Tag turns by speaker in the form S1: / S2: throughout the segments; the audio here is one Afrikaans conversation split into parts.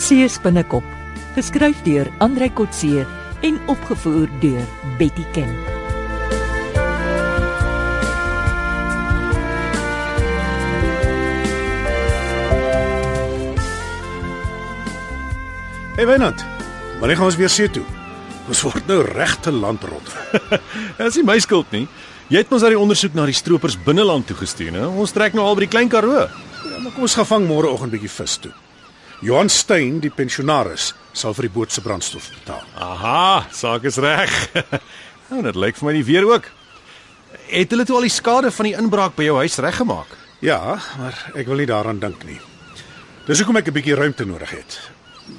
S1: Coetzee se binnekop, geskryf deur Andrei Coetzee en opgevoer deur Betty Ken.
S2: Hey Wynand, wanneer gaan ons weer see toe? Ons word nou regte landrot.
S3: Dit is nie my skuld nie. Jy het ons uit die ondersoek na die stroopers binneland toe gestuur, hè? Ons trek nou al by die Klein Karoo.
S2: Ja, maar kom ons gaan vang môreoggend bietjie vis toe. Johan Stein, die pensionaris, sal vir die boot se brandstof betaal.
S3: Aha, saak is reg. nou, dit lyk vir my die weer ook. Het hulle toe al die skade van die inbraak by jou huis reggemaak?
S2: Ja, maar ek wil nie daaraan dink nie. Dis hoekom ek 'n bietjie ruimte nodig het.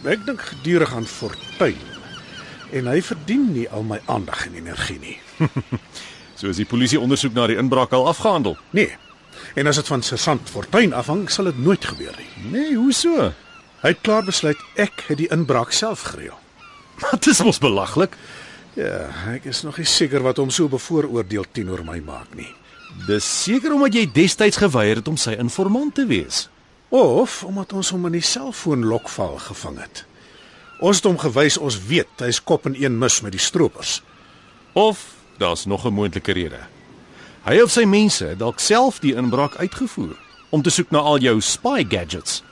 S2: Ek dink gedurig aan Fortuin en hy verdien nie al my aandag en energie nie.
S3: So is die polisie ondersoek na die inbraak al afgehandel.
S2: Nee. En as dit van Sersant Fortuin afhang, sal dit nooit gebeur nie.
S3: Nee, hoe so?
S2: Hy het klaar besluit ek het die inbraak self gereël.
S3: Maar dit is mos belaglik.
S2: Ja, ek is nog nie seker wat hom so bevooroordeel teenoor my maak nie.
S3: Dis seker omdat jy destyds geweier het om sy informant te wees.
S2: Of omdat ons hom in die selfoon lokval gevang het. Ons het hom gewys ons weet hy's kop in een mis met die stroopers.
S3: Of daar's nog 'n moontlike rede. Hy of sy mense het dalk self die inbraak uitgevoer om te soek na al jou spy gadgets.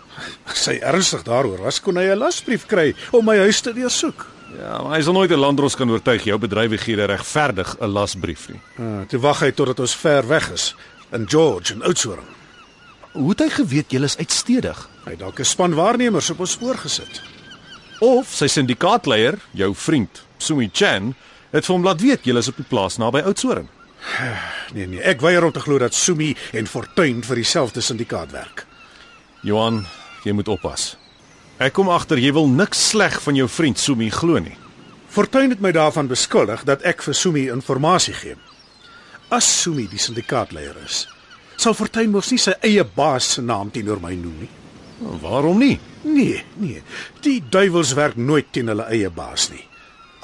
S2: As hy ernstig daaroor was, kon hy 'n lasbrief kry om my huis te deursoek.
S3: Ja, maar hy sal nooit 'n landros kan oortuig jou bedrywighede regverdig 'n lasbrief nie.
S2: Uh, toe wag hy totdat ons ver weg is in George en Oudtshoorn.
S3: Hoe het hy geweet jy is uitstedig?
S2: Hy het dalk 'n span waarnemers op ons oorgesit.
S3: Of sy syndikaatleier, jou vriend, Sumi Chan, het vir hom laat weet jy is op die plaas naby Oudtshoorn.
S2: Nee nee, ek weier om te glo dat Sumi en Fortuin vir dieselfde syndikaat werk.
S3: Johan, jy moet oppas. Ek kom agter jy wil niks sleg van jou vriend Sumi glo nie.
S2: Fortuin het my daarvan beskuldig dat ek vir Sumi inligting gee. As Sumi die syndikaatleier is, sal Fortuin mos nie sy eie baas se naam teenoor my noem nie.
S3: Waarom nie?
S2: Nee, nee. Die duiwels werk nooit teen hulle eie baas nie.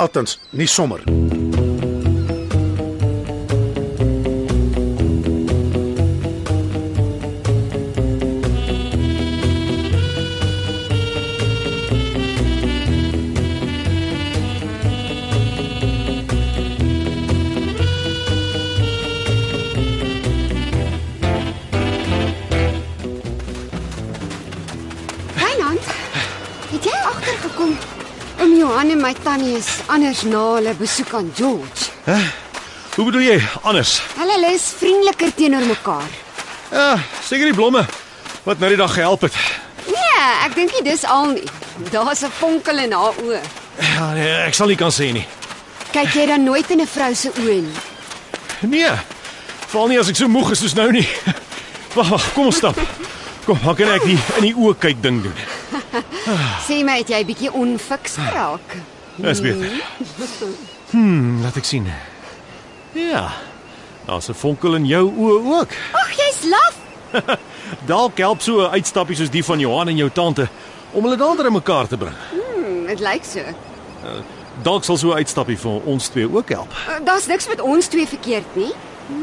S2: Althans, nie sommer.
S4: Wynand, het jy agtergekom om Johan en my tannie is anders na hulle besoek aan George?
S3: Hoe bedoel jy anders?
S4: Hulle is vriendeliker teenoor mekaar.
S3: Ja, seker die blomme wat nou die dag gehelp het.
S4: Nee, ek dink nie dis al nie. Daar's 'n vonkel in haar oë.
S3: Ja, nee, ek sal nie kan sê nie.
S4: Kyk jy dan nooit in 'n vrou se oë nie?
S3: Nee. Veral nie as ek so moeg is soos nou nie. Wag, wag, kom ons stap. Kom, dan kan ek die in die oë kyk ding doen.
S4: Sê my, het jy bietjie onfiks geraak?
S3: Dis beter. Hm, laat ek sien. Ja. Daar's 'n vonkel in jou oë ook.
S4: Ag, jy's laf.
S3: Dalk help so 'n uitstappie soos die van Johan en jou tante om hulle nader aan mekaar te bring.
S4: Hm, Dit lyk so.
S3: Dalk sal so 'n uitstappie vir ons twee ook help.
S4: Daar's niks met ons twee verkeerd nie.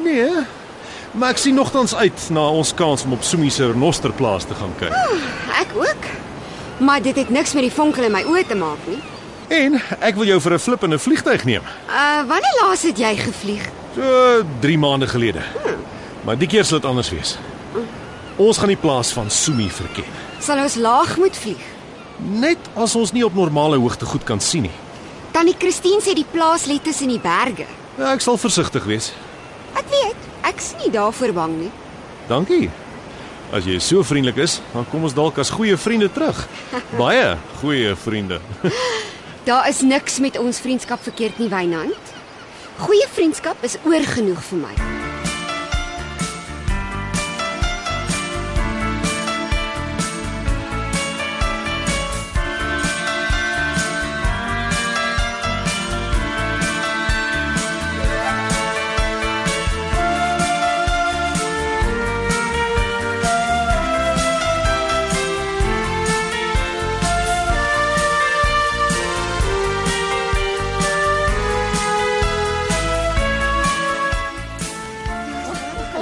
S3: Nee. Maar ek sien nogtans uit na ons kans om op Sumi se renosterplaas te gaan kyk.
S4: Ek ook. Maar dit het niks met die vonkel in my oë te maak nie.
S3: En ek wil jou vir 'n flip in 'n vliegtyg neem.
S4: Uh, wanneer laas het jy gevlieg?
S3: So 3 maande gelede. Maar die keer sal dit anders wees. Ons gaan die plaas van Sumi verken.
S4: Sal ons laag moet vlieg?
S3: Net as ons nie op normale hoogte goed kan sien nie.
S4: Tannie Christine sê die plaas lê tussen die berge.
S3: Ja, Ek sal versigtig wees.
S4: Ek weet, ek's nie daarvoor bang nie.
S3: Dankie. As jy so vriendelik is, dan kom ons dalk as goeie vriende terug. Baie goeie vriende.
S4: Daar is niks met ons vriendskap verkeerd nie, Wynand. Goeie vriendskap is oorgenoeg vir my.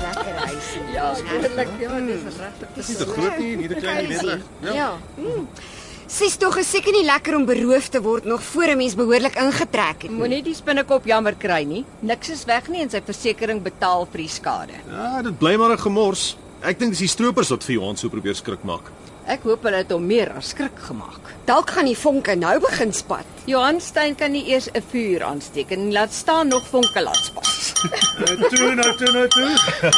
S4: Lekker huis. Ja, skielik, ja, dis
S3: Dis nie te groot nie, nie te klein nie,
S4: Ja. Sies tog is seker nie lekker om beroof te word nog voor 'n mens behoorlik ingetrek het nie.
S5: Moenie die spinnekop jammer kry nie. Niks is weg nie en sy versekerings betaal vir die skade.
S3: Ja, dit bly maar 'n gemors. Ek dink dis die stroopers wat vir ons so probeer skrik maak.
S5: Ek hoop hulle het hom meer as skrik gemaak.
S4: Dalk gaan die vonke nou begin spat.
S5: Johan Stein kan nie eers 'n vuur aansteek en laat staan nog vonke laat spat.
S2: Toe nou, toe nou, toe.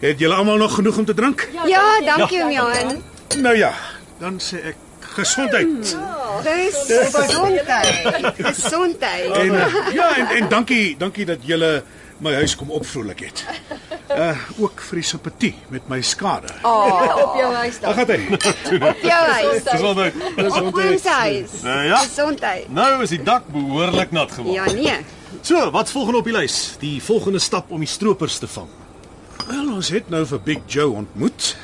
S2: Het julle almal nog genoeg om te drink?
S4: Ja, dankie oom Johan.
S2: Nou ja, dan sê ek gesondheid.
S4: Dis gesondheid. Gesondheid.
S2: En eh, ja, en, en dankie, dankie dat julle my huis kom opvrolik het. Uh ook vir die simpatie met my skade.
S5: Oh. Op jou huis
S2: Daar gaan hy.
S4: Op jou huis.
S3: Gesondheid.
S4: Op oom se huis.
S3: Nou ja.
S4: Gesondheid.
S3: Nou is die dak behoorlik nat geword.
S4: Ja nee.
S3: So, wat volgende op die lys? Die volgende stap om die stroopers te vang.
S2: Wel, ons het nou vir Big Joe ontmoet.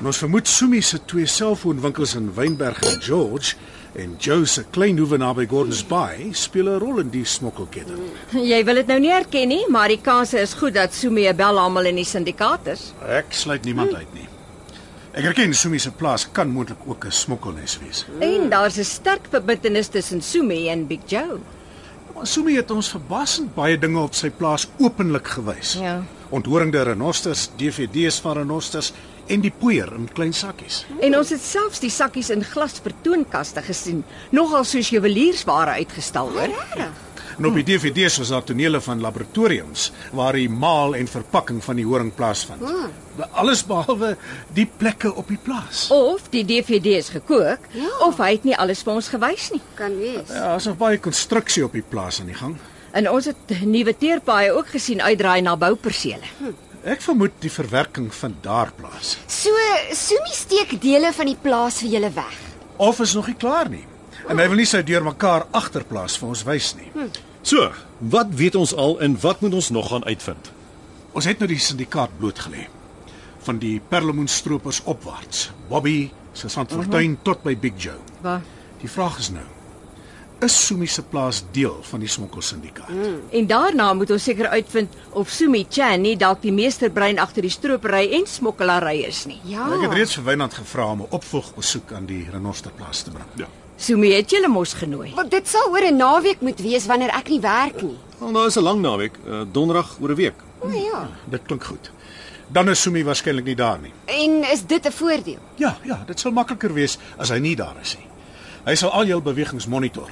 S2: En ons vermoed Sumi se twee selfoonwinkels in Wynberg en George en Joe se klein hoewe naby Gordons Bay speel 'n rol in die smokkelketting.
S5: Jy wil dit nou nie erken nie, maar die kans is goed dat Sumi 'n bel almal in die sindikaat is.
S2: Ek sluit niemand uit nie. Ek erken Sumi se plaas kan moontlik ook 'n smokkelnes wees.
S5: En daar's 'n sterk verbintenis tussen Sumi en Big Joe.
S2: Maar Sumi het ons verbasend baie dinge op sy plaas openlik gewys.
S5: Ja.
S2: Onthoringde renosters, DVD's van renosters en die poeier in klein sakkies.
S5: En ons het selfs die sakkies in glas vertoonkaste gesien, nogal soos juweliersware uitgestal hoor.
S2: En op die DVD's was daar tonele van laboratoriums waar die maal en verpakking van die horing plaasvind.
S4: Ah.
S2: Alles behalwe die plekke op die plaas.
S5: Of die DVD is gekook,
S4: Ja.
S5: of hy het nie alles vir ons gewys nie.
S4: Kan wees.
S2: Ja, daar's nog baie konstruksie op die plaas aan die gang.
S5: En ons het nuwe teerpaaie ook gesien uitdraai na boupersele.
S2: Ek vermoed die verwerking van daar plaas.
S4: So Sumi steek dele van die plaas vir julle weg.
S2: Of is nog nie klaar nie. En hy wil nie sy deurmekaar agterplaas vir ons wys nie.
S3: So, wat weet ons al en wat moet ons nog gaan uitvind?
S2: Ons het nou die syndikaat blootgelê van die perlemoenstroopers opwaarts. Bobby, Susan Fortuin uh -huh. tot by Big Joe.
S5: Waar?
S2: Die vraag is nou, is Sumi se plaas deel van die smokkelsyndikaat? Mm.
S5: En daarna moet ons seker uitvind of Sumi Chan nie dalk die meesterbrein agter die stropery en smokkelary is nie.
S4: Ja.
S2: Ek het reeds vir Wynand gevra om 'n opvolgbesoek aan die renosterplaas te bring.
S3: Ja.
S5: Sumi het julle mos genooi.
S4: Want dit sal oor 'n naweek moet wees wanneer ek nie werk nie.
S3: Wel, nou is 'n lang naweek, uh, donderdag oor 'n week.
S4: O ja.
S2: Dit klink goed. Dan is Sumi waarskynlik nie daar nie.
S4: En is dit 'n voordeel?
S2: Ja, ja, dit sal makliker wees as hy nie daar is nie. Hy sal al jou bewegings monitor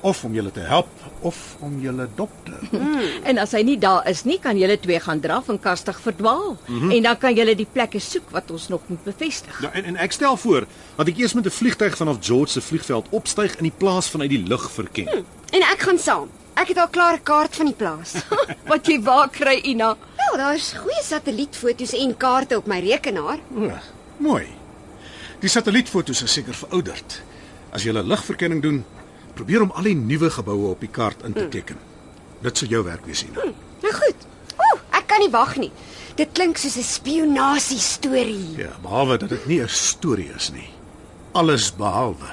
S2: of om julle te help of om julle dop te. hou.
S5: En as hy nie daar is nie, kan julle twee gaan draf en kastig verdwaal. Mm -hmm. En dan kan julle die plekke soek wat ons nog moet bevestig.
S3: Ja, en en ek stel voor dat ek eers met 'n vliegtyg vanaf George se vliegveld opstyg en die plaas vanuit die lug verken. Hm.
S4: En ek gaan saam. Ek het al klaar 'n kaart van die plaas.
S5: Wat jy waar kry, Ina?
S4: Wel, daar's goeie satellietfoto's en kaarte op my rekenaar.
S2: Hm, O, mooi. Die satellietfoto's is seker verouderd. As jy 'n ligverkenning doen, probeer om al die nuwe geboue op die kaart in te teken. Dit sal jou werk wees hier.
S4: Nou goed. Ooh, ek kan nie wag nie. Dit klink soos 'n spionasie storie.
S2: Ja, behalwe dat dit nie 'n storie is nie. Alles behalwe.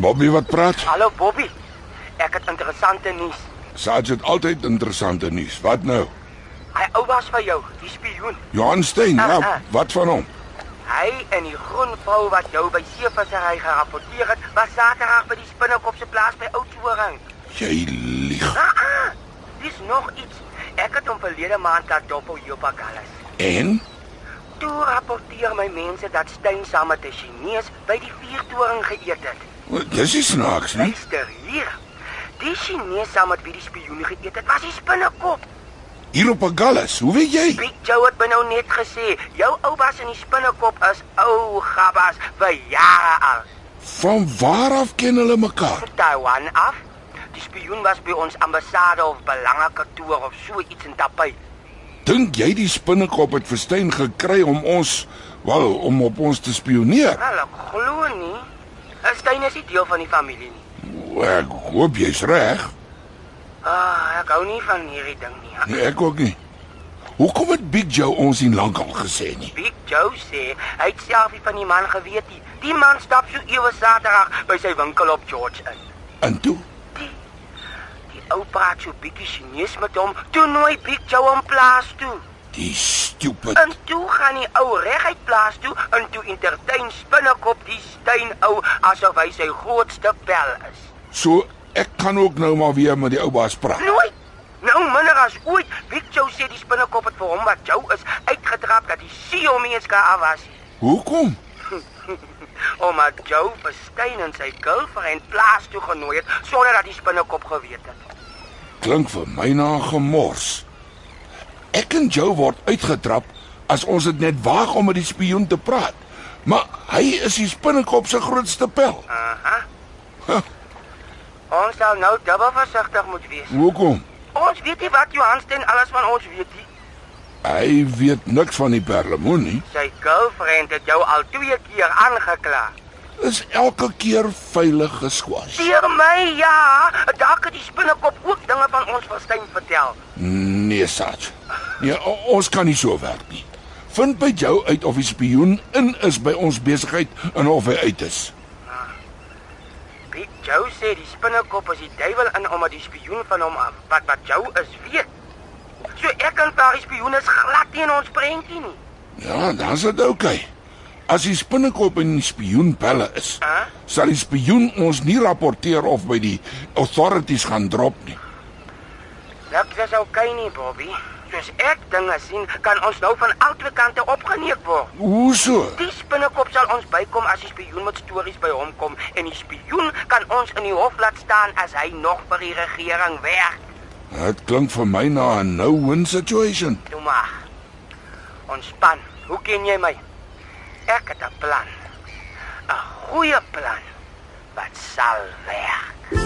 S6: Bobby wat praat?
S7: Hallo Bobby. Ek het interessante nuus.
S6: Sarge het altyd interessante nuus. Wat nou?
S7: Hy ou was vir jou, die spioen.
S6: Johan Stein,
S7: Ah,
S6: ja,
S7: ah.
S6: wat van hom?
S7: Hy en die groen vrou wat jou by seevissery gerapporteer het, was Saterdag by die spinnekop se plaas by Oudtshoorn.
S6: Jy lieg.
S7: Ah, ah, dis nog iets. Ek het hom verlede maand laat dop op Jopakalas.
S6: En
S7: Toe rapporteer my mense dat Steyn saam met 'n Chinees by die vuurtoring geëet het.
S6: Wel, dis nie snaaks nie.
S7: Luister hier. Die Chinees saam met wie die spioen geëet het, was die spinnekop.
S6: Hier op 'n gallas. Hoe weet jy?
S7: Big Joe het my nou net gesê, jou oupas in die spinnekop is ou gabbas vir jare al.
S6: Van waar af ken hulle mekaar?
S7: Van Taiwan af. Die spioen was by ons ambassade of belangekantoor of so iets in Taipei.
S6: Dink jy die spinnekop het vir Stein gekry om ons, wel, om op ons te spioneer?
S7: Wel, ek glo nie. Skyn is nie deel van die familie nie.
S6: O, Ek hoop jy's reg.
S7: Ah, ek hou nie van hierdie ding nie.
S6: Nee, ek ook nie. Hoekom het Big Joe ons nie lankal gesê nie?
S7: Big Joe sê hy het self nie van die man geweet nie. Die man stap so ewe Saterdag by sy winkel op George in.
S6: En toe,
S7: Die ou praat so bietjie Chinees met hom. Toe nooi Big Joe hom plaas toe.
S6: die stupid.
S7: En toe gaan die ou reguit plaas toe en toe entertain spinnekop die stein ou asof hy sy grootste pel is.
S6: So ek kan ook nou maar weer met die ou baas praat.
S7: Nooit. Nou minder as ooit, Big Joe sê die spinnekop het vir hom wat Joe is uitgetrap dat die CEO mense kan afwas.
S6: Hoekom?
S7: Omdat Joe vir Stein en sy girlfriend plaas toe genooi het sonder dat die spinnekop geweet het.
S6: Klink vir my na gemors. Ek en Joe word uitgetrap as ons dit net waag om met die spioen te praat. Maar hy is die spinnekop se grootste pel.
S7: Aha.
S6: Huh.
S7: Ons sal nou dubbel versigtig moet wees.
S6: Hoekom?
S7: Ons weet nie wat Johan Stein alles van ons weet nie.
S6: Hy weet niks van die perlemoen nie.
S7: Sy girlfriend het jou al twee keer aangekla.
S6: Is elke keer veilig geskwas.
S7: Seer my, ja. Dalk het die spinnekop ook dinge van ons verstein vertel.
S6: Nee, Sat. Nee, o- ons kan nie so werk nie. Vind by jou uit of die spioen in is by ons besigheid en of hy uit is.
S7: Big Joe sê die spinnekop is die duiwel in omdat die spioen van hom af- wat wat Joe is weet. So ek en daardie spioen is glad nie in ons prentjie nie.
S6: Ja, dan's dit oukei. As die spinnekop en die spioen pelle is,
S7: Huh?
S6: sal die spioen ons nie rapporteer of by die authorities gaan drop nie.
S7: Niks is okay Nou, nie, Bobby. Soos ek dinge sien, kan ons nou van albei kante opgeneek word.
S6: Hoe so?
S7: Die spinnekop sal ons bykom as die spioen met stories by hom kom en die spioen kan ons in die hof laat staan as hy nog vir die regering werk.
S6: Dit klink vir my na 'n no-win situation.
S7: Toe maar. Ontspan. Hoe ken jy my? Ek het 'n plan. 'n Goeie plan wat sal werk.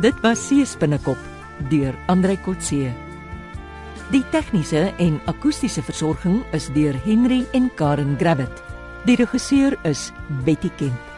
S1: Dit was Seespinnekop deur Andrei Kotse. Die tegniese en akoestiese versorging is deur Henry en Karen Gravett. Die regisseur is Betty Kemp.